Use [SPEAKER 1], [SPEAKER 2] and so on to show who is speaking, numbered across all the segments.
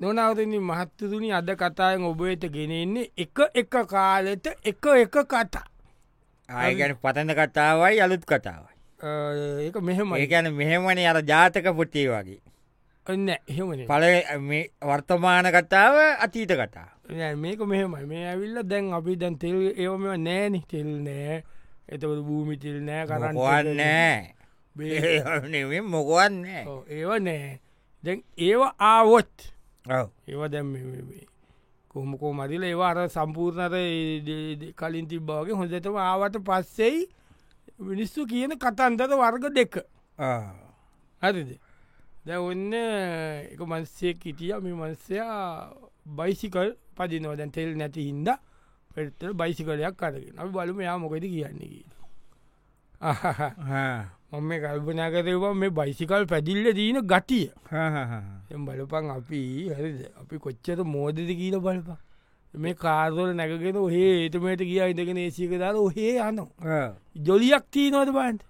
[SPEAKER 1] නොනවරනි මහත්තතුනි අද කතායෙන් ඔබයට ගෙනෙන්නේ එක එක කාලෙට එක එක කතා
[SPEAKER 2] ආයගැන පතන කතාවයි අලුත් කතාවයි
[SPEAKER 1] අ, ඒක මෙහෙම
[SPEAKER 2] ඒකැන මෙහෙමන අර ජාතක පොට්ටේ වගේ
[SPEAKER 1] එන්න එහෙමන
[SPEAKER 2] පල වර්තමාන කතාව අතීත කතා
[SPEAKER 1] මේක මෙහෙමයි මේ ඇවිල්ල දැන් අපි දැන් තෙල් ඒම නෑනි තෙල් නෑ එතකට භූමි තිල් නෑ කරන්න
[SPEAKER 2] මොකුවන්
[SPEAKER 1] බේ-
[SPEAKER 2] නෑ මොකුවන් නෑ
[SPEAKER 1] ඔව්, ඒව නෑ දැන් ඒව ආවොත්
[SPEAKER 2] ඔව්.
[SPEAKER 1] ඒව දැම් කොහමකෝ මදිල ඒවා අර සම්පූර්ණර කලින් තිබ්බාවගේ හොඳටම ආවට පස්සෙයි මිනිස්සු කියන කතන්දර වර්ග දෙක
[SPEAKER 2] ආ.
[SPEAKER 1] හරිද දැ ඔන්න එක මන්සේ කිටිය මේ මන්සයා බයිසිකල් පදිනෝ දැන් තෙල් නැති හින්ද පෙට බයිසිකලයක් කරගෙන අපි බලු යා මොකද කියන්නේ කියලා.
[SPEAKER 2] හා.
[SPEAKER 1] මම මේ කල්පනා කරවා මේ බයිසිකල් පැදිල්ල දීන ගටිය
[SPEAKER 2] හා හා හා.
[SPEAKER 1] දැන් බලපන් අපි හරිද අපි කොච්චර මෝදද කියීල බලපා මේ කාර්වල නැකගෙන ඔහේ ඒතමට කියා ඉඳගෙන ඒසික දාල ඔහේ යනු
[SPEAKER 2] ඔව්.
[SPEAKER 1] ජොලියක් තිීනවද බන්ට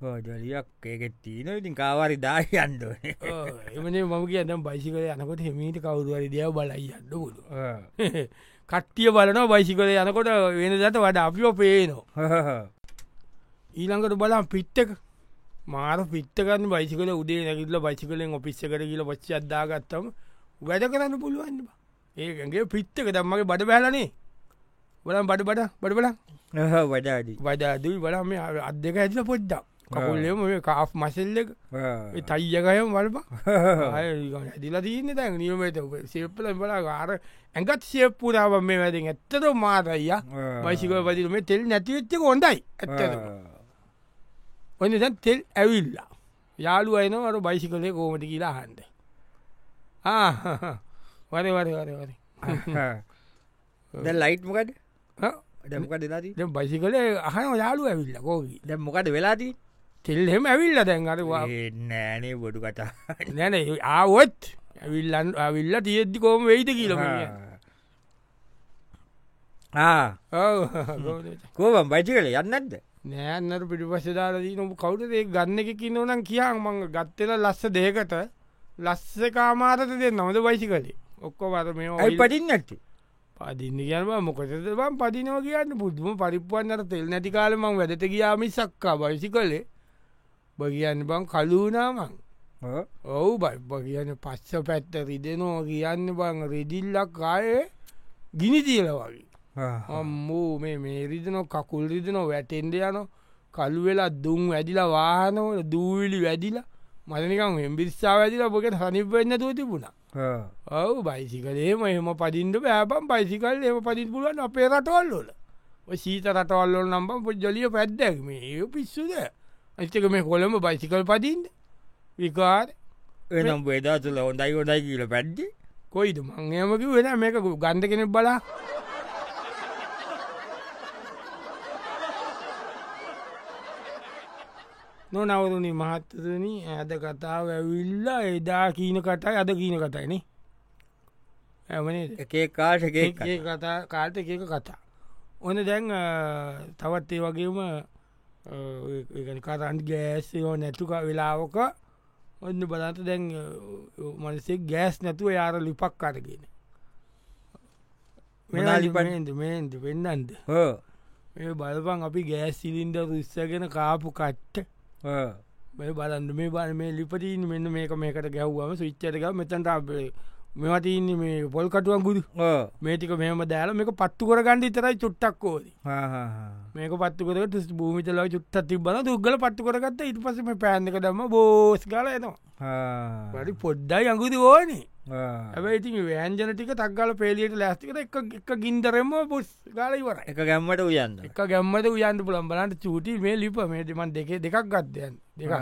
[SPEAKER 2] බෝජලියක් ඒකෙත් තිීන ඉතින් කාවරි දායන්ඩ
[SPEAKER 1] එමන මම කියන්න බයිසිකල යනකොට හෙමීට කවරුවරි දිය බලයි අන්න පුොලු කට්ටිය බලනවා බයිසිකල යනකොට වෙන දත වඩ අපිෝ පේනවා ඊළඟට බලම් පිත්තක මාර පිත්තකන්න බයිසිකල උදේ නැකිල්ල බයිසිකලෙන් ඔපිස්ස කර කියල පච්චි අදදාගත්තම වැඩ කරන්න පුළුවන්න ඒකගේ පිත්තක දම්මගේ බඩ බෑලනේ බලම් බඩ බඩ බඩ බල
[SPEAKER 2] වඩාඩි
[SPEAKER 1] වඩාදී බලම අත් දෙක ඇතිල පොඩ්ඩක් කකුල්ලම කාෆ් මසල්ලක තයිජකයම් වල්ප ඇදිලා තියන්න තැන් නියමට සේප්පල බලා ගාර ඇඟත් සේප්පුරාව මේ වැදින් ඇත්තට මාතයිය පයිසිකල පදිල මේ තෙල් නැතිවෙච්චක හොඳයි ඇත්තට ඔන්න දැන් තෙල් ඇවිල්ලා යාළු අයනවර බයිසිකලේ කෝමට කියලා හන්ද වර වර වර වර
[SPEAKER 2] ද ලයිට් මොකට
[SPEAKER 1] හ?
[SPEAKER 2] දැමකට දෙලාදී
[SPEAKER 1] දැන් බයිසිකලේ අහන යාළු ඇවිල්ල කෝගී
[SPEAKER 2] දැ මොකට වෙලාදී
[SPEAKER 1] තෙල්හෙම ඇවිල්ල දැන් අරවා
[SPEAKER 2] නෑනේ බොඩු කතා
[SPEAKER 1] නැන ආවොත් ඇවිල්ලන් ඇවිල්ල තියෙද්දි කෝම වෙයිද කියලම
[SPEAKER 2] කෝවම් බජි කල යන්නද
[SPEAKER 1] නෑන්නට පිටිපසදාලදී නොම කවුට ඒ ගන්න එක කින්න නම් කියා මං ගත්තල ලස්ස දෙකට ලස්ස කාමාරත දෙ නොද බයිසි කලේ ඔක්කො වර මේ
[SPEAKER 2] ඇයි
[SPEAKER 1] oil-
[SPEAKER 2] පටින් නැට
[SPEAKER 1] පදින්න කියනවා මොකද බම් පදිනෝ කියන්න පුදුම පරිප්පුවන්නට තෙල් නැති කාලමං වැඩට ගියාමි සක්කා බයිසි කලේ බ කියන්න බං කලුනාමං ඔවු බයිබ කියන්න පස්ස පැත්ත රිදෙනෝ කියන්න බං රෙදිල්ලක් කායේ ගිනි තියල වගේ අම්මෝ මේ මේ රිදනො කකුල් රිදනො වැටෙන්ඩ යන කළු වෙලා දුම් වැදිලා වාහනවල දූවිලි වැදිලා මදනිකම් එම්බිස්සා වැදිලා පොකට හනිපවෙන්න තුව තිබුණා ඔවු බයිසිකලේම එම පදිින්ට බෑපම් බයිසිකල් එම පදිින් පුලුවන් අපේ රටවල්ලොල සීත රටවල්ලොල් නම්බම් පො ජොලිය පැද්දැක්ම ඒ පිස්සුද ඇතක මේ කොළම බයිසිකල් පදින්ට විකාර
[SPEAKER 2] එනම් බේදා තුල හොඳයි ගොඩයි කියල පැද්දි
[SPEAKER 1] කොයිද මංයමකි වෙන මේක ගන්ධ කෙනෙක් බලා නොනවරුණි මහත්තතුනි ඇද කතාව ඇවිල්ල එදා කීන කටයි අද කීන කටයිනේ ඇමනේද
[SPEAKER 2] එකේ කාශගේ
[SPEAKER 1] ඒ කතා කාල්ට එක එක කතා ඕන දැන් අ, තවත් ඒ වගේම කරන්් ගෑස්යෝ නැතුක වෙලාවක ඔන්න බලත දැන් මනසේ ගෑස් නැතුව යාර ලිපක් කරගෙන
[SPEAKER 2] මොනා ලිපක්ද?
[SPEAKER 1] මෙනාලිපනද මේන්ද පෙන්න්නන්ද ඒ බලපන් අපි ගෑස් සිලින්ද රුස්සගෙන කාපු කට්ට මේ බලන්න මේ බල මේ ලිපටීන් මෙන්න මේක මේකට ගැව්වම විච්චරක මෙතන්ට අපේ මෙවටීන්නේ මේ පොල් කටුවන් ගුදු මේටික මෙම දෑල මේක පත්තු කරගන්න ඉතරයි චුට්ටක් ෝද මේක පත්තුකරට භූමිතල චුට්ට තිබන දුගල පත්තු කරගත්ත ඉට පසම පෑන්ක දම බෝස් කල එනවා වැඩි පොඩ්ඩයි අඟුද ඕනේ ඇැයි ඉතින් වෑන්ජන ටික තක්ගල පේලියට ලෑස්තිකට එක එක ගින්දරෙම බොස් ගලයි වරයි
[SPEAKER 2] එක ගැම්මට උයන්න
[SPEAKER 1] එක ගැම්මට උයන්ට පුළම්බලන්ට චූටි මේ ලිප මේටමන් දෙකේ දෙකක් ගත්යන් දෙක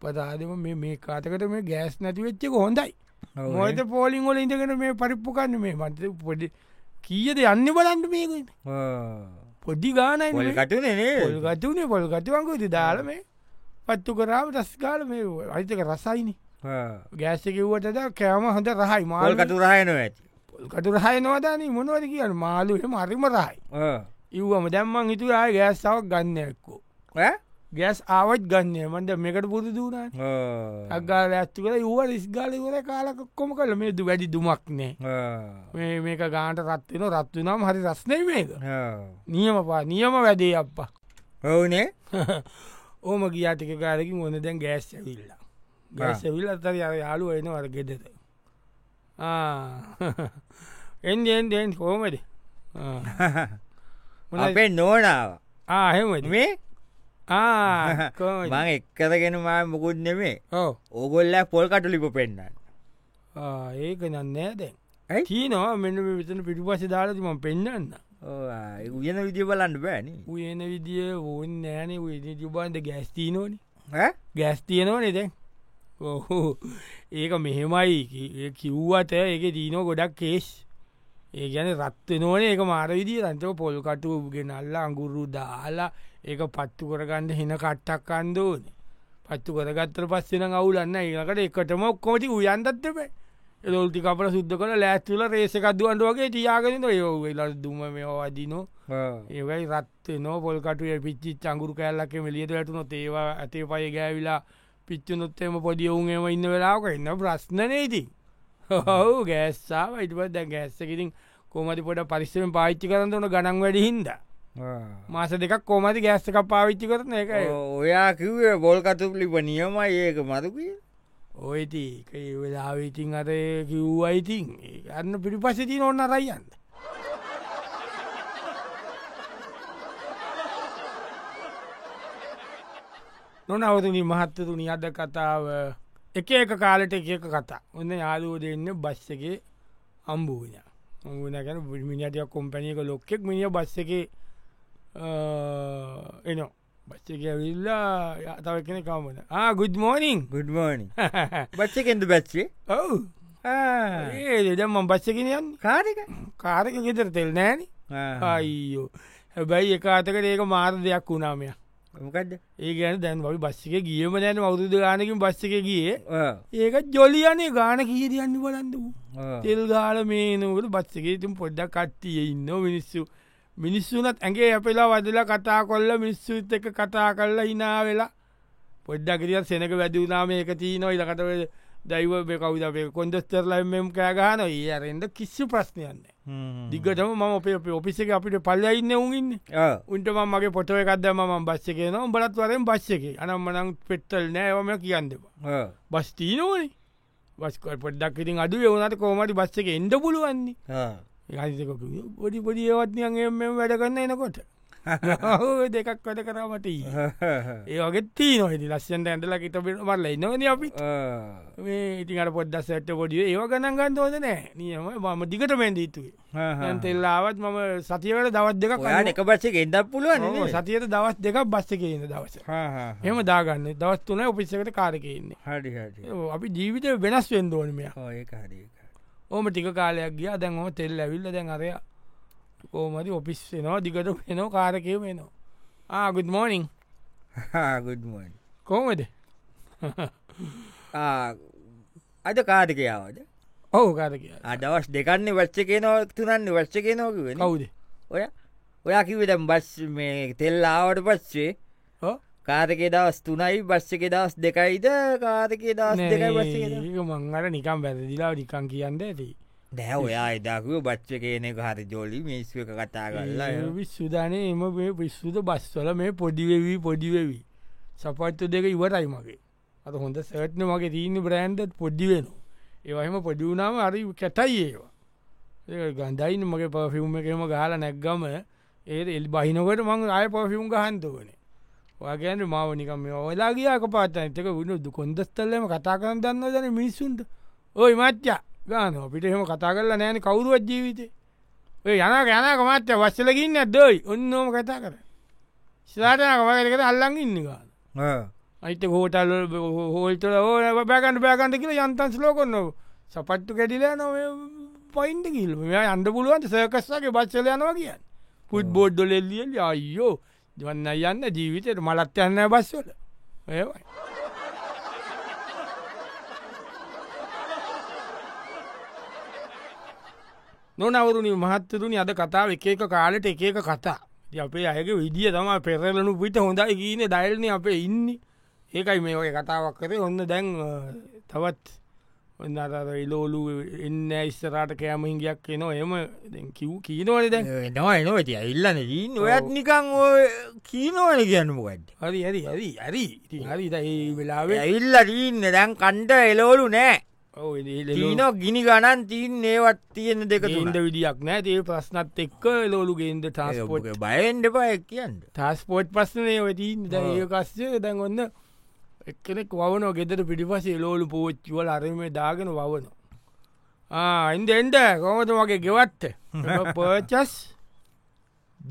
[SPEAKER 1] පදාදම මේ මේ කාතකට මේ ගෑස් නැති වෙච්චක හොඳයි මොයට පෝලිං වල ඉඳගෙන මේ පරිප්පු කන්න මේ මත පොඩි කියද යන්න බලන්ට මේකන්න පොඩි ගානයි
[SPEAKER 2] පොල් කටුනේ
[SPEAKER 1] ගතුනේ පොල් ගතිවංකු ති දාලම පත්තු කරාව රස්කාල මේ අයිතක රසයිනි ගෑස කිව්වටද කෑම හඳ රහයි
[SPEAKER 2] පොල්
[SPEAKER 1] මාල්
[SPEAKER 2] කටුරහයන ඇති
[SPEAKER 1] කතු රහය නොවදාන මොනවද කියන්න මාලුහම අරිම රහයි ඉව්වම දැම්මන් හිතුරය ගෑස්සාවක් ගන්න එක්කෝ
[SPEAKER 2] ඔය?
[SPEAKER 1] ගැස් ආවත් ගන්නය මට මේකට පුරුදුනාන අගාල ඇත්තු කළ ඌව රිස්ගාලවර කාලකොක්කොම කල මේ දු වැඩි දුමක් නෑ මේ මේක ගානට රත්වෙන රත්වනම් හරි රස්නය මේක නියම පා නියම වැඩේ අප්පා
[SPEAKER 2] ඔවුනේ
[SPEAKER 1] ඕම ගියාටික කාරකින් ඕොන දැන් ගෑස් ඇවිල්ලා ගෑස් ඇවිල් අතර අර යාලු එන වර ගෙදද එන්ඩෙන්ඩෙන් කෝමද
[SPEAKER 2] අපේ නෝනාව
[SPEAKER 1] ආහෙමද
[SPEAKER 2] මේ
[SPEAKER 1] ආ කොහොමද?
[SPEAKER 2] මං එක්කරගෙන මා මුකුත් නෙමේ
[SPEAKER 1] ඔව්
[SPEAKER 2] ඕගොල්ල පොල් කටුලිප පෙන්න්න
[SPEAKER 1] ආ, ඒක නන්නෑ දැන්
[SPEAKER 2] ඇයි?
[SPEAKER 1] කියනවා මෙන්න මේ විතන පිටිපස දාලතිම පෙන්න්න
[SPEAKER 2] උයන විදිය බලන්න බෑන
[SPEAKER 1] උයන විදිිය ඕන් නෑනේ උ ජුබන්ද ගැස්තිීනෝනි ගැස්තියනෝනේ දැන් ඔහු ඒක මෙහෙමයි කි- ඒ කිව්වට ඒක දීනෝ ගොඩක් කේස් ඒ ගැන රත්ව නෝන ඒක මාර විදිී රන්තව පොල් කටු ගෙනල්ලා අඟුරු දාලා ඒක පත්තු කරගන්න හෙන කට්ටක් අන්දෝන පත්තු කරගත්තර පස්සෙන අවුලන්න ඒකට එකටම ඔක්කොමටි උයන්දත්තපේ එලොල්ටි කපල සුද්ද කළ ලෑස්තුල රේසකදුවන්ට වගේ තියාගෙන යෝ වෙලා දුම මේවා වදිනෝ ඒවයි රත් නෝ පොල්කටුව පිච්චි චංගුරු කෑල්ලක් මෙලියට වැටුන තේවා ඇතේ පය ගෑවිලා පිච්චුනොත්තේම පොඩි ඔවුන්ම ඉන්න වෙලාක එන්න ප්‍රශ්නනේති හෝ ගෑස්සාාව ඉටපත් දැ ගෑස්සකිරින් කොමති පොට පරිස්සම පාච්චි කරන්න ඕන ගනන් වැඩිහින්ද මාස දෙකක් කෝමති ගෑස්සක පාවිච්චි කරන එකයි
[SPEAKER 2] ඔයා කිව්වේ බොල් කතුපලිප නියමයි ඒක මතුකය
[SPEAKER 1] ඔයති ඒ වෙලාවිඉතින් අර කිව්වයිතින් අන්න පිටිපසති ඔන්න රයියන්න නොනවතුනි මහත්තතුනි අද කතාව එක එක කාලට එක එක කතා ඔන්න යාලුව දෙන්න බස් එකේ අම්බූන ඔගනැන මිනිටයක් කොම්පැනියක ලොක්කෙක් මිනිිය බස් එකේ එනෝ බස් එක ඇවිල්ලා යතාව කෙන කවමන ආ ගුඩ් මෝනිින්
[SPEAKER 2] ගුඩ්මෝනි බච්චකෙන්ද බැච්චේ
[SPEAKER 1] ඔව් ඒදම බස්සකෙන යන්න
[SPEAKER 2] කාරක
[SPEAKER 1] කාරක ගෙතර තෙල් නෑන අයිෝ හැබැයි එක අතකට ඒක මාර දෙයක් වුණාමය
[SPEAKER 2] මොකක්ද
[SPEAKER 1] ඒ ගැන දැන් වි බස්සික ගියම දැන අවුරුදු ගානකින් බස්සික ගිය ඒක ජොලියනේ ගාන කීරියන්න බලන්ද වූ තෙල් ගාල මේනකට බස්සක ඉතින් පොඩ්ඩක් කට්ටිය ඉන්න මිනිස්සු මිනිස්සුනත් ඇගේ අපෙලා වදලා කතා කොල්ල මිනිස්සුත් එක කතා කරලා හිනා වෙලා පොඩ්ඩකිරිය සෙනක වැදවනාම එක තිීනො ඉලකට දැයිව කවද අපේ කොන්දස්තරලමම් කෑගහන ඒ අරෙන්ද කිස්සු ප්‍රශ්නයන්න දිගටම ම අපේ අපේ ඔපිස එක අපිට පල්ලඉන්න උන්ඉන්න උන්ට ම මගේ පොටව එකක්ද ම බස්සකේ නොම් බලත් වරෙන් බස්සකේ අනම්මනං පෙත්තල් නෑවම කියන්නවා බස් තීනෝනේ බස්කොල් පොඩ්ඩක් ඉතින් අඩු යවනට කෝමට බස්ස එක එන්ඩ පුළුවන්නේ යක පොඩි පොඩි ඒවත්නියන් එම වැඩ කරන්න එනකොට ඔහු දෙකක් වැඩ කරමට ඒවගේ තී නොහිති ලස්සන්ට ඇඳල කිට පරල ඉන්නවන අපි මේ ඉතින් අට පොඩ්ඩස් ඇට පොඩිය ඒව ගණන් ගන්න ඕද නෑ නියම මම දිගට පැන්ඩීතුවේ තෙල්ලාවත් මම සතියවට දවත් දෙක
[SPEAKER 2] ඔයාට එක බච්චක එදක් පුළුවන්
[SPEAKER 1] සතියට දවස් දෙක බස්ස එකන්න දවස එම දාගන්න දවස් තුන උපිස්සකට කාරකයන්නේ
[SPEAKER 2] හඩි හඩි
[SPEAKER 1] අපි ජීවිතය වෙනස් වෙන්දෝනමය
[SPEAKER 2] ඒ හරි
[SPEAKER 1] ඕම ටික කාලයක් ගිය දැන් හෝ තෙල් ඇවිල්ල දැන් අරය ඕමති ඔපිස් වෙනවා දිකට වෙනෝ කාරකය වෙනවා ආගුත් මෝනිින්
[SPEAKER 2] ගුඩ්මන්
[SPEAKER 1] කෝමද
[SPEAKER 2] අද කාරිකයාවද
[SPEAKER 1] ඔහු කාරක
[SPEAKER 2] අදවස් දෙකන්න වච්චකේ නො තුනන්න වච්චකේ නොකිවෙන
[SPEAKER 1] කවුද
[SPEAKER 2] ඔය ඔයා කිවට බස් මේ තෙල්ලාවට පස්සේ
[SPEAKER 1] ඕ?
[SPEAKER 2] කාරකේ දවස් තුනයි බස්්චක දවස් දෙකයිද කාරකේ දවස් දෙකයි බස්ස
[SPEAKER 1] ඒක මංහට නිකම් වැරදිලා නිකං කියන්න ඇති
[SPEAKER 2] දැ ඔයා එදාකුව බච්ච කියනෙක හරි ජොලි මිස්ක කතා කරලා
[SPEAKER 1] විස්සුදානය එම මේ පිස්සුද බස්වල මේ පොඩිවෙවී පොඩිවෙවී සපත්තු දෙක ඉවරයි මගේ අත හොඳ සටන මගේ තීන්න බ්‍රෑන්්ඩත් පොඩ්ඩි වෙන ඒවහම පොඩිවුනාම අරි කැටයි ඒවා ඒ ගන්ධයින් මගේ පෆිුම් එකම ගහල නැක්ගම ඒ එල් බහිනකට මං අය පෆිුම් ගහන්තවන වගේන මාවනිකම ඔලාගේක පාතනතක වුණු දු කොන්දස්තල්ලම කතා කරන්න දන්න දන මිනිස්සුන්ට ඕයි මච්චා ගාන අපිට එහෙම කතා කරලා නෑන කවුරුවත් ජීවිතේ ඔය යන යනක මත්‍ය වස්සලකින්න දොයි ඔන්නෝම කතා කර ස්ලාටනක වගකට අල්ලන් ඉන්න ගාන අයිත හෝටල් හෝල්තල ඕ බෑකන්ට බෑකන්ට කියල යන්තන් ස්ලෝකොන්න සපට්ටු කැඩිලා නොව පයින්ට කිල් මෙයා අන්ඩ පුළුවන්ට සයකස්සගේ බච්චල යනවා කියන්න පුට් බෝඩ්ඩොල එල්ලියල් අයියෝ දවන්න යන්න ජීවිතයට මලත් යන්න බස්වල ඒවයි නොනවරුණි මහත්තතුනි අද කතාව එක එක කාලෙට එක එක කතා ඉතින් අපේ අයක විදිිය තම පෙරලනු පිට හොඳයි කියන ඩයිල්න අපේ ඉන්න ඒකයි මේ ඔය කතාවක් කරේ ඔන්න දැන් අ, තවත් ඔන්න අතර ඉලෝලු එන්න ඉස්සරාට කෑමහිගයක් එනවා එම කිව් කියීනවල දැන්
[SPEAKER 2] නොයි නොවති ඉල්ලන්න දීන් ඔයත් නිකං ඔය කීනෝන කියන්න මොකක්ද
[SPEAKER 1] හරි හරි හරි හරි ඉති හරි ඒ වෙලාවේ
[SPEAKER 2] ඇවිල්ල දීන්න දැන් කණ්ඩ එලෝලු නෑ
[SPEAKER 1] ඔව් ඒ ලෙලෝ-
[SPEAKER 2] දීනෝ ගිනි ගණන් තිීන් ඒවත් තියෙන දෙක
[SPEAKER 1] ගේන්ඩ
[SPEAKER 2] තුන්ට
[SPEAKER 1] විඩියක් නෑ ඒ ප්‍රශ්නත් එක්ක එලෝලු ගේන්ද ට්‍රස්පෝට්
[SPEAKER 2] බයෙන්ඩ පය කියන්න
[SPEAKER 1] ටස්පෝට් පස්සනය වෙතින් ඒකස්ය දැන් ඔන්න එක්කෙනෙක් වවනෝ ගෙදර පිටිපස එලෝලු පෝච්චිවල අරම දාගෙන වවනෝ අයින්ද එන්ඩ කොමත වගේ ගෙවත්ත පර්චස්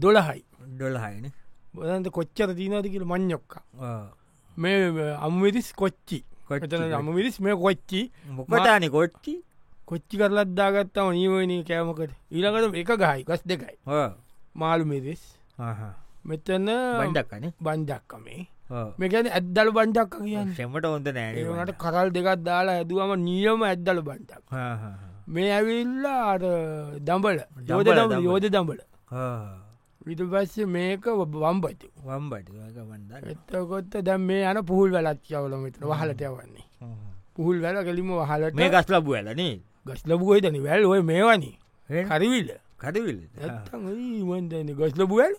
[SPEAKER 1] දොළහයි
[SPEAKER 2] ඩොල්හයින
[SPEAKER 1] බොදන්ට කොච්චර දීනතිකල මං්ඥොක්ක මේ අම්විරිස් කොච්චි
[SPEAKER 2] කොච්චි,
[SPEAKER 1] කොචන අමවිරිස් මේ කොච්චි
[SPEAKER 2] මොකටානෙ කොට්ටි
[SPEAKER 1] කොච්චි කරලත්දාගත්තාව නීවනී කෑමකට ඊළකට එක ගහයි ගස් දෙකයි මාළු මිරිස් මෙතන
[SPEAKER 2] බඩක්කන
[SPEAKER 1] බන්ජක්කමේ මේකැන ඇද්දල බන්ඩක්ක කියන්න
[SPEAKER 2] සෙමට හොඳ නෑ
[SPEAKER 1] ඒනට කරල් දෙකත් දාලා ඇදුවම නියම ඇද්දල බන්ටක් මේ ඇවිල්ලා අර දම්බල යෝධ
[SPEAKER 2] දඹල,
[SPEAKER 1] දම්බල
[SPEAKER 2] දඹල.
[SPEAKER 1] යෝධ දම්බල විට පස්ස මේක වම්බතු
[SPEAKER 2] වම්බට ගමන්ද
[SPEAKER 1] එතකොත් දැම් මේ යන පුහල් වැලච්චවලමට වහලට යවන්නේ පුහල් වැල කෙලිම වහලට
[SPEAKER 2] මේ ගස් ලබු ඇලනේ
[SPEAKER 1] ගස්ලබුවයිතන වැල් ඔය මේවනි හරිවිල්ල
[SPEAKER 2] කඩවිල්
[SPEAKER 1] ඇත්තන්දන ගොස්ලබුවල්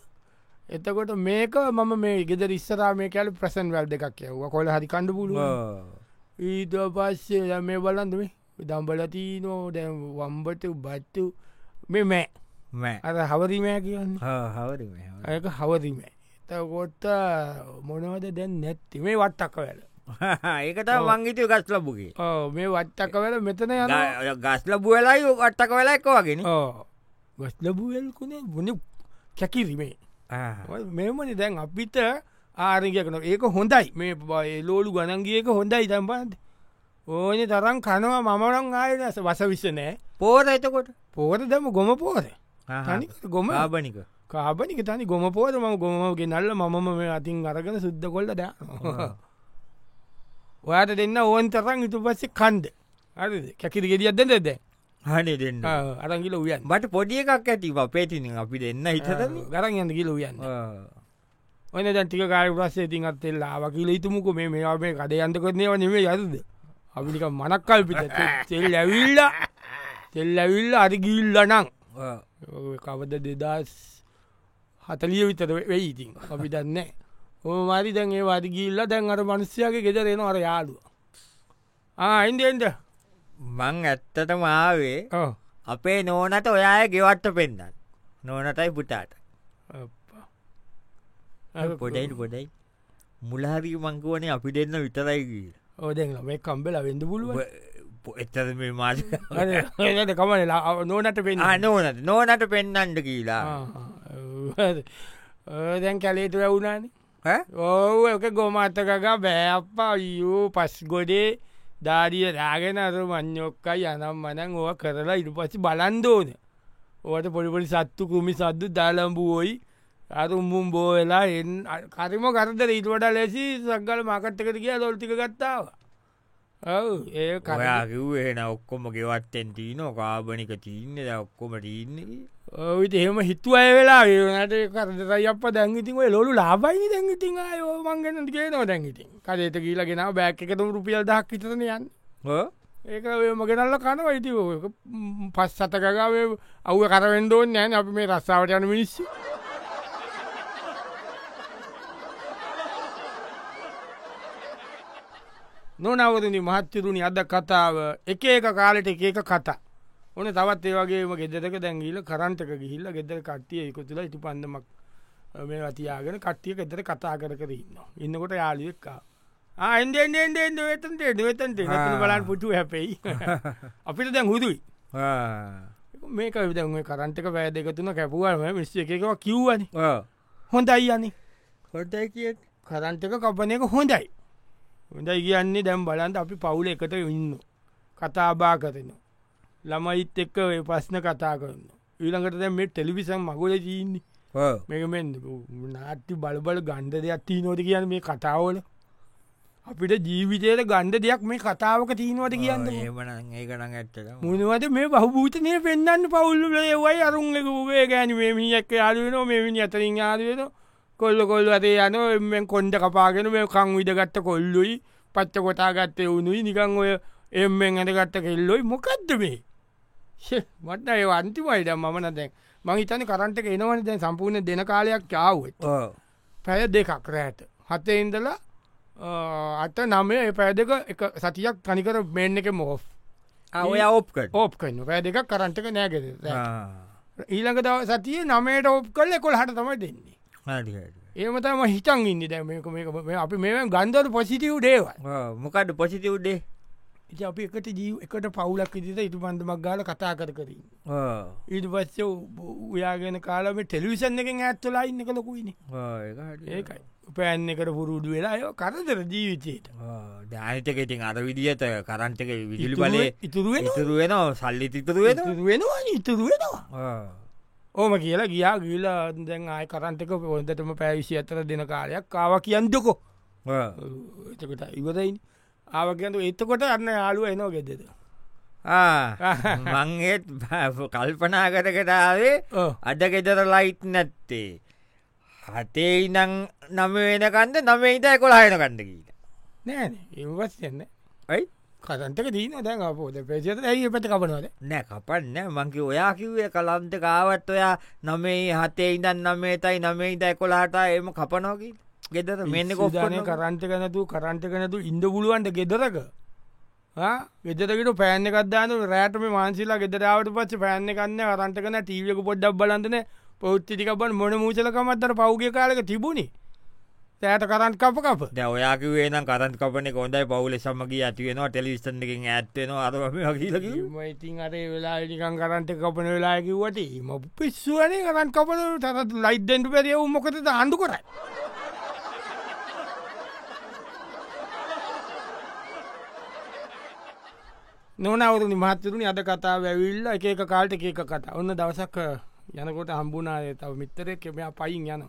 [SPEAKER 1] එතකොට මේක මම මේ ගෙදර ඉස්සරා මේ කැල ප්‍රසන් වැල් දෙකක් යව්ව කොල හරි කණ්ඩ පුලුව ඊට පස්සේ දැන් මේ බලන්දමේ දම්බලතිනෝ දැ වම්බට බත්තු මේ මෑ
[SPEAKER 2] මෑ
[SPEAKER 1] අර හවරිමෑ කියන්න
[SPEAKER 2] හවර
[SPEAKER 1] ඇක හවරිමෑ එතකොට මොනවද දැන් නැත්ති මේ වත්තක්ක වැල
[SPEAKER 2] ඒකට වංගිතය ගස් ලබුගේ
[SPEAKER 1] ඔව්, මේ වත්තක්ක වැල මෙතන යන
[SPEAKER 2] ගස් ලබු වෙලායි අට්ටක වෙලාක්ක වගෙන
[SPEAKER 1] ගස්ලබුවල්කුණේ බුණ කැකිරිමේ මෙමනි දැන් අපිට ආරගකන ඒක හොඳයි මේ එලෝලු ගණන්ගේක හොඳයි තම්බන්ද ඕන තරම් කනවා මමරං ආයස වස විස නෑ
[SPEAKER 2] පෝර එතකොට
[SPEAKER 1] පෝර දම ගොම පෝරේ තනි ගොම
[SPEAKER 2] ආබනික
[SPEAKER 1] කාබනික තනි ගොම පෝද ම ගොමගේ නල්ල මම මේ අතින් අරගෙන සුද්ද කොල්ල ද ඔයාට දෙන්න ඕන් තරන් ඉතු පස්සේ කන්ද අ කැකිරි ගෙඩියත් දෙද ද
[SPEAKER 2] හනි දෙන්න
[SPEAKER 1] අරංගිල උයන්
[SPEAKER 2] බට පොඩිය එකක් ඇති පේතින අපි දෙන්න හිතතන
[SPEAKER 1] ගරන් යන්න කිල උයන්න ඔන දැටික කාය ප්‍රස්සේ ඉතින් අත්තෙල් ආවකිල ඉතුමුක මේ මේවා මේ කඩ අන්ත කරනව නෙමේ යදද අපික මනක්කල් පිට තෙල් ඇවිල්ල තෙල් ඇවිල්ල අරිගිල්ල නං ඔය කවද දෙදස් හතලිය විතර වෙයි ඉතින් අපි දන්න ඕමරි දැන් ඒ අරිගිල්ල දැන් අර මනුස්්‍යයගේ ගෙදරෙන අර යාලුව ආයින්දෙන්ට
[SPEAKER 2] මං ඇත්තට මාවේ අපේ නෝනට ඔයාය ගෙවට්ට පෙන්න්න නෝනටයි පුටාට පොඩයිට පොඩයි මුලහරි මංකුවනේ අපි දෙන්න විතරයි කියල
[SPEAKER 1] ඕදැන් මේ කම්බෙල වෙන්න පුළුව
[SPEAKER 2] එත්තද මේ මාස
[SPEAKER 1] කමලා නෝනට පෙන්
[SPEAKER 2] නෝනට නෝනට පෙන්නන්ට කියලා
[SPEAKER 1] දැන් කැලේට වැැවුණානේ ඕ එක ගොමත්තකක බෑප්පා අයෝ පස් ගොඩේ ධාරිය රාගෙන අර මං්ඥොක්කයි යනම් මනං ඕ කරලා ඉඩු පසි බලන්දෝන ඕට පොඩිපොඩි සත්තු කුමි සද්දු දාලම්බුවෝයි අරුම්බුම් බෝ වෙලා එ කරිම කරද රීටවට ලෙසි සක්ගල මකට්ටකට කිය ලොල්ටික ගත්තාව ඔව් ඒ කර
[SPEAKER 2] කරයා කිව්හෙන ඔක්කොම ගෙවත්තෙන් තිීන කාබනික තිීන්න ද ඔක්කොම ටීන්න
[SPEAKER 1] ඔවිට එහෙම හිතුව අය වෙලා ඒනට කරදරයි අප දැංගිතින් ඔය ලොලු ලාබයි දැංගිතින් යෝමන්ගෙන කියනව දැංගිතින් කදේත කියීලගෙන බෑක් එකතුම් රුපියල් දක් කිතරන යන් ඒක මගෙනල්ල කනව ඉති පස් සතකගාව අව්ව කරවෙන්ඩෝන් නෑන අපි මේ රස්සාාවට යන මිනිස්සු නොනවරදි මහත්්‍යරුණි අද කතාව එක එක කාලෙට එක එක කතා ඕන තවත් ඒවගේම ගෙදරක දැංගීල කරන්ටක ගිහිල්ල ගෙදර කට්ටිය එකතුල ඉතු පන්දමක් මේ වතියාගෙන කට්ටිය ගෙදර කතා කර කර ඉන්න ඉන්නකොට යාලියක්කා ආන්ඩෙන්ඩෙන්ඩෙන්ඩ වෙතන්ට වෙතන්ට
[SPEAKER 2] ආ.
[SPEAKER 1] බලන් පුටු හැපෙයි අපිට දැන් හුදුයි මේක විදේ කරන්ටක වැෑදකතුන කැපුවම මිස්ස එකකව කිව්වන හොඳයි යන්නේ
[SPEAKER 2] හොටයි කිය
[SPEAKER 1] කරන්ටක කපන එක හොඳයි හොඳයි කියන්නේ දැම් බලන්ට අපි පවුල එකට ඉන්න කතාබා කරන ළමයිත් එක්ක ඔය ප්‍රශ්න කතා කරන්න ඊළඟට දැ මේ ටෙලිවිසන් මගුල ජීන්නේ මේකමෙන් නාට්‍ය බලබල ගණ්ඩ දෙයක් තිී නොද කියන මේ කතාවල අපිට ජීවිතයට ගණ්ඩ දෙයක් මේ කතාවක තියෙනවට කියන්න
[SPEAKER 2] ඒමන ඒකනං ඇත්තට
[SPEAKER 1] මුණුවට මේ බහභූතනය පෙන්න්න පවුල්ල ඒවයි අරුන්ලක වූේ ගෑනවේ මිියක් යාලුවන මෙමිනි අතරින් යාලුවෙන කොල්ල කොල්ල අතේ යන එෙන් කොන්ඩ කපාගෙන මේ කං විඩගත්ත කොල්ලුයි පච්ච කොටාගත්තය වුණුයි නිකං ඔය එෙන් ඇඳගත්ත කෙල්ලොයි මොකක්ද මේ ෂේ, මට ඒ අන්තිමයිඩ මම නදැන් මං හිතන කරන්ට එනවන දැන් සම්පූර්ණ දෙන කාලයක් චාවත් පැය දෙකක් රෑට හතේ ඉඳලා අ, අට නමය ඒ පැය දෙක එක සතියක් තනිකර මෙන්න එක මෝ්
[SPEAKER 2] ඔය ඔප්කට
[SPEAKER 1] ඕප් කන්න පැය දෙක කරන්ටක නෑගෙද ඊළඟ දව සතිය නමයට ඔප් කල්ල කොල් හට තමයි දෙන්නේ ඒමතම හිතන් ඉන්න දැ මේක මේක මේ අපි මේ ගන්දර පොසිටව් ඩේවල්
[SPEAKER 2] මොකඩ පොසිති උඩේ
[SPEAKER 1] ඉති අපි එකට ජීව එකට පවුලක් විදිත ඉතු බන්ධමක් ගාල කතා කර කරින් ඊට පස්ස උයාගෙන කාලම ටෙලිවිසන් එකෙන් ඇත්තලා ඉන්න කලොකුයින ඒකයි උපෑන් එකට පුරුඩු වෙලා ය කරදර ජීවිතයට
[SPEAKER 2] ධානතකෙටින් අර විදිහත කරන්ටක විජිලි බලේ
[SPEAKER 1] ඉතුරුවෙන
[SPEAKER 2] ඉතුරුවෙන සල්ලි තිතරුවෙන
[SPEAKER 1] වෙනවා ඉතුරුවෙනවා ඕම කියලා ගියා ගිලා දැන් ආය කරන්ටක පොන්දටම පැවිසි අතර දෙන කාලයක් කාව කියන්දකෝ එතකට ඉවරයින් ආවකන්තු එත්තකොට අන්න යාලුව එනෝ ගෙදෙද
[SPEAKER 2] මංගේත් කල්පනා කරකටාවේ
[SPEAKER 1] ඕ
[SPEAKER 2] අඩ ගෙදර ලයිට් නැත්තේ හතේ ඉනං නම වෙනකන්ද නමේට කොලායන කන්ද කියීට
[SPEAKER 1] නෑන ඒවස් යන්න
[SPEAKER 2] ඇයි
[SPEAKER 1] කරන්ටක දීන දැන් අපෝද පේසිත ඇයි පැට කපනවද
[SPEAKER 2] නෑ කපන්න මංකි ඔයා කිව්වේ කලන්ත කාවත් ඔයා නමේ හතේ ඉඳන් නමේතයි නමේ ඉදයි කොලාටා එම කපනෝකි ගෙදර මෙන්න
[SPEAKER 1] ගොප්ධනය කරන්ට කනතු කරන්ට කනතු ඉන්ඩ පුලුවන්ට ගෙදරක ගෙදරකට පෑන කදදාන රෑටම මාන්සිලා ගෙදරාවට පච්ච පෑන්න කන්න අරන්ට කන ටීවක පොඩ්ඩක් බලන්තන පෞත්තිිකබන් මොන මූචලකමත්තර පෞග කාලක තිබුණි තෑට කරන්ට කප කප
[SPEAKER 2] ද ඔයාකිවේ නම් කරන් කපන කොඳයි පවුල සමගී ඇතිවෙනවා ටෙලිස්ටන්කින් ඇත්වෙනවා අරම හකිලකි
[SPEAKER 1] ඉතින් අරේ වෙලා නිකන් කරන්ට කපන වෙලාකිවට ම පිස්සුවනේ කරන් කපන තරත් ලයිඩ්ඩෙන්ට පැරිය උමොකද අන්ඩු කරයි නොනවරු නිමහත්තරුණි අද කතා වැැවිල්ල එක එක කාල්ට එකක කතා ඔන්න දවසක් යනකොට හම්බුනාය තව මිත්තරය කෙමයා පයින් යන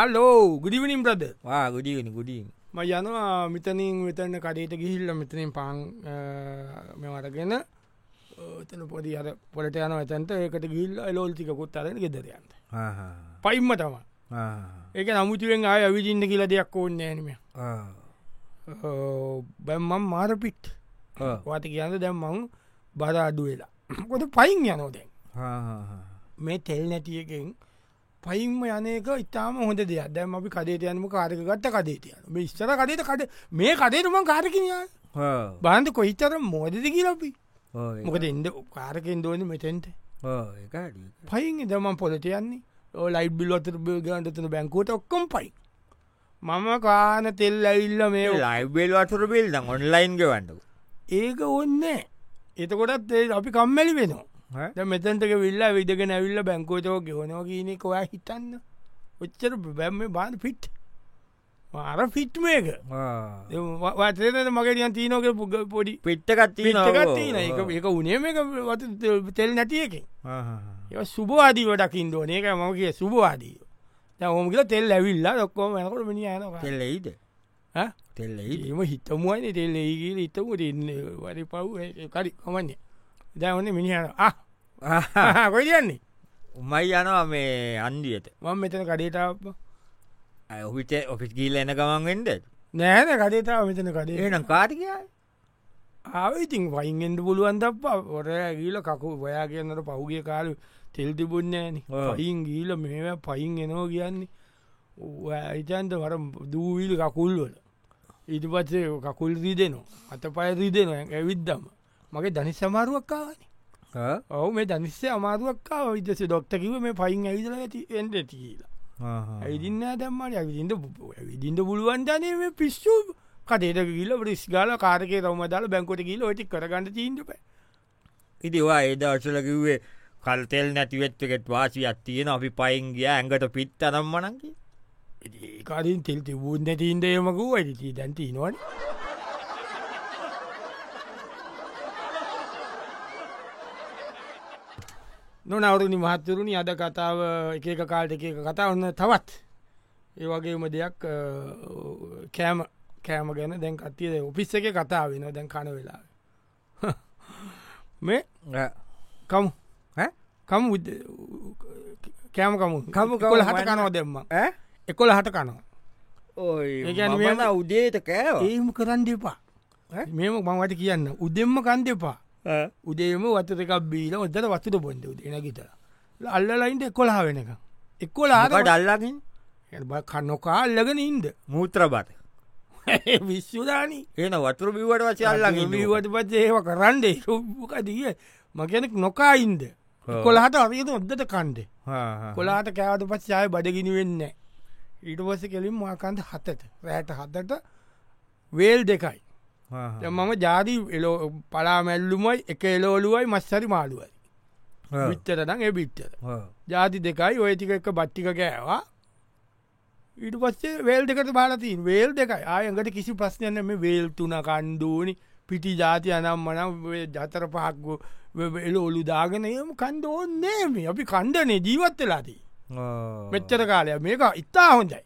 [SPEAKER 1] අල්ලෝ ගුඩිවිනිින් ප්‍රද
[SPEAKER 2] වා ගුඩිගෙන ගුඩින්
[SPEAKER 1] ම යනවා මිතනින් වෙතන්න කඩේට ගිහිල්ල මෙතනින් පාන් මෙවරගෙන එතන පොඩි අර පොලට යන ඇතන්ට ඒකට ගිල් ලෝල්තිකුත් අරන ගෙදරයන්ට පයිම්ම තම ඒක නමුතුවෙන් ආය අවිජින්න කියලා දෙයක් ඕන්න නම බැම්මම් මාර පිට් වාත කියන්න දැම්මං බර අඩු වෙලා කොට පයින් යනෝදැන් මේ තෙල් නැතියකෙන් පයින්ම යනක ඉතාම හොඳ දෙයක් දැම් අපි කඩේට යනම කාරක ගත්ත කඩේටයන ස්තර කඩේට කඩ මේ කඩේටම කාරකිනය බාන්ධ කොහිතර මෝදද කියලපි මොකද එද කාරකෙන් දෝන මෙතෙන්ට පයින් දම පොලට යන්නේ ඕ ලයි බිල්ලොතර බගන්ටතන බැංකෝට ඔක්කොම් පයි මම කාන තෙල් ඇවිල්ල මේ
[SPEAKER 2] ලයිබෙල් වතුර බිල්ද ඔන්ලයින් ගවන්නු
[SPEAKER 1] ඒක ඔන්න එතකොටත් ඒ අපි කම්මැලි වෙනවා දැන් මෙතැන්ටක විල්ලා විදගෙන ඇවිල්ල බැංකෝතෝ ගෙවනවා කියනෙ කොයා හිතන්න ඔච්චර බැම්ම බාන පිට් අර ෆිට්මේක වතන මගේියන් තිීනෝක පුග පොඩි
[SPEAKER 2] පිට්ටකත්ති
[SPEAKER 1] පිටගත්න එක එක උනේ මේ වත තෙල් නැතියකින් ඒ සුබවාදී වඩකින් දෝන එක මම කිය සුබවාදී හොමකිල තෙල් ඇවිල්ලා ොක්කෝම යනකොට මිනි යනවා
[SPEAKER 2] තෙල්ලයිද
[SPEAKER 1] හ?
[SPEAKER 2] තෙල්ලයි
[SPEAKER 1] ඒම හිතමුවන තෙල්ල ඒගේ හිතමු දෙන්න වරි පව් කරි කොමන්නේ දැවන්න මිනිහන කොයිදන්නේ
[SPEAKER 2] උමයි යනවා මේ අන්දියට
[SPEAKER 1] මං මෙතන කඩේටාව
[SPEAKER 2] ඔහිට ඔෆිස් ගීල එන ගමන් වෙන්ඩ
[SPEAKER 1] නෑන කඩේතාව මෙතන කඩේ
[SPEAKER 2] ඒනම් කාටිකයි
[SPEAKER 1] ආවිතින් පයින්ෙන්ට පුළුවන්ද ොර ගීල කකු ඔයා කියන්නට පහුගේ කාලු තෙල්ති පුුණ්ඥෑන
[SPEAKER 2] ඔව්.
[SPEAKER 1] පයින් ගීල මෙම පයින් එනෝ කියන්නේ ඇයිතන්ට වර දූවිල් කකුල්වල ඊට පත්සේ කකුල් දී දෙනවා අත පයදී දෙනවා ඇවිද්දම මගේ දනි සමාරුවක්කාවන ඔවු මේ දනිස්සේ අමාරුවක්කා විදස ඩොක්තකිව මේ පයින් ඇවිදල ඇති එන්ට ඇති කියලා ඇවිදින්න දැම්මට ඇවිදිට ඇවිදිට පුළුවන්ජනය මේ පිස්සු කටේට ගිල බරිස් ගාල කාරකය රවම දාල බැංකොට ගිල ඔටි කරගන්න චීන්ටප
[SPEAKER 2] ඉතිවා ඒද අසල කිව්වේ කල්තෙල් නැතිවෙත්වකෙත් වාසි අත්තියෙන අපි පයින් ගිය ඇඟට පිත් අරම්මනකි
[SPEAKER 1] ඒකාරින් තෙල් තිබූන් නැතින්දයමකු ඇඩිටී දැන්ති නොට නොනවරුණි මහත්තරුණි අද කතාව එක එක කාල්ට එක එක කතා ඔන්න තවත් ඒ වගේම දෙයක් අ, කෑම කෑම ගැන දැන් කතියද ඔපිස්ස එක කතා වෙන දැන් කන වෙලා මේ කමු
[SPEAKER 2] ඈ?
[SPEAKER 1] කමු කෑම කමු
[SPEAKER 2] කමු, කමු,
[SPEAKER 1] කොල හට
[SPEAKER 2] වන්න.
[SPEAKER 1] කනෝ දෙම්ම එකොල හට කනවා ඒ කියන්නේ
[SPEAKER 2] ඕයි
[SPEAKER 1] මේ-
[SPEAKER 2] මන උදේට කෑව
[SPEAKER 1] ඒම කරන්න දෙපා
[SPEAKER 2] ඈ?
[SPEAKER 1] මෙම මංවට කියන්න උදෙම්ම කන් දෙපා උදේම වත එකක් බීල ඔදර වතුට බොන්ද උදේ නැගිතර අල්ලලයින්ට එකොලා වෙනක එක්කොලා
[SPEAKER 2] ඩල්ලගින්
[SPEAKER 1] කන්නොකාල්ලගෙන ඉන්ද
[SPEAKER 2] මුූත්‍ර බට
[SPEAKER 1] විශ්වදානී
[SPEAKER 2] එන වතුර බිවට වශයල්ලගින්
[SPEAKER 1] ට පත් ඒව කරන්න කදිය මගැනෙක් නොකායින්ද
[SPEAKER 2] ඔව්.
[SPEAKER 1] කොලාට අරියට ඔද්දට කණ්ඩේ කොලාට කෑවට පත් යාය බඩගිනි වෙන්න ඊට පස්ස කෙලින් මාකන්ද හතට රෑට හතට වේල් දෙකයි දැන් මම ජාති එලෝ පලාමැල්ලුමයි එක එලෝලුවයි මස්සරි මාළුවයි විච්චරනම් එ බිච්චර ජාති දෙකයි ඔය ටික එක බට්ටික කෑවා ඊට පස්සේ වේල් දෙකට බාලතින් වේල් දෙකයි ආයඟට කිසි ප්‍රශ්නයන මේ වේල් තුන කණ්ඩුවනි පිටි ජාති අනම්මනම් ජතර පහක්ග එල ඔලු දාගෙන එම කණ්ඩ ඕන්නේ මේ අපි කණ්ඩනේ ජීවත් වෙලාදී මෙච්චර කාලය මේක ඉතා හොඳයි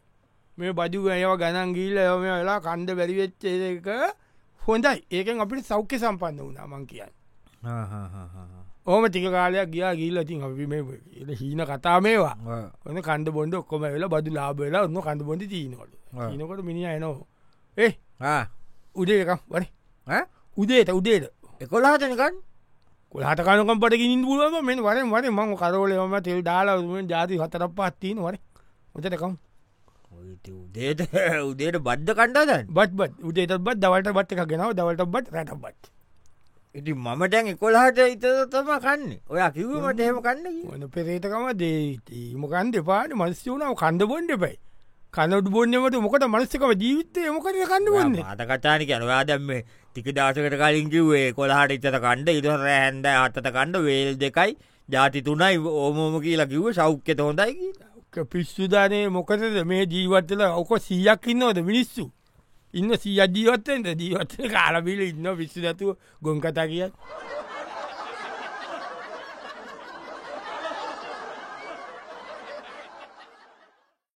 [SPEAKER 1] මේ බදු ඇයව ගණන් ගීල එම වෙලා කණ්ඩ බැරිවෙච්ච එක හොඳයි ඒකෙන් අපිට සෞඛ්‍ය සම්පන්න වුණාමන් කියන්න ඕම ටික කාලයක් ගියා ගීලතින් අපි මේ හීන කතා මේවා ඔන්න කණ්ඩ බොඩ ඔක්කොම වෙල බදු ලාබවෙලා ඔන්න කණඩ බොඩ තිීනකොට
[SPEAKER 2] ආ.
[SPEAKER 1] තිනකොට මිනි එනෝ ඒ උදේකම් වන උදේට උදේට
[SPEAKER 2] එකොලාටනකන්
[SPEAKER 1] කොලාට කනකම් පට ගින් පුලුව මෙ වරෙන් වර මං කරෝලයම තෙල් දාලාම ජාති හතරක් පත්තින වර ඔතටකම්
[SPEAKER 2] උදේට උදේට බද්ධ කණ්ඩාදන්න
[SPEAKER 1] බත් බත් උදේට බත් දවට බත් එක ගෙනාව දවට බත් රැට බත්
[SPEAKER 2] ඉති මම ටැන් එකොලාට ඉතතම කන්නේ ඔය කිව්වමට එහෙම කන්න කිව්වා.
[SPEAKER 1] ඔන්න පෙරේතකම දේමකන් දෙපාට මනස්්‍යවනාව කණ්ඩ බොන්්ඩ පයි කනඩ බොන්නමට මොකට මනස්සකම ජීවිතය මොකට කන්න බොන්නේ
[SPEAKER 2] මට කටානි කනවා දැම්ම ටික දසකට කලින් කිව්වේ කොලාට ඉතත කණ්ඩ ඉතුර හැන්ද අතත කණ්ඩ වේල් දෙකයි ජාති තුනයි ඕමෝම කියලා කිව්ව සෞඛ්‍යත හොඳයි
[SPEAKER 1] පිස්සුදානය මොකතද මේ ජීවත්තල ඔක සීයක් ඉන්නවද මිනිස්සු ඉන්න සීජීවත්තෙන්ද ජීවත්ත කාලබිල ඉන්න පිස්සු නැතුව ගොන් කතා කිය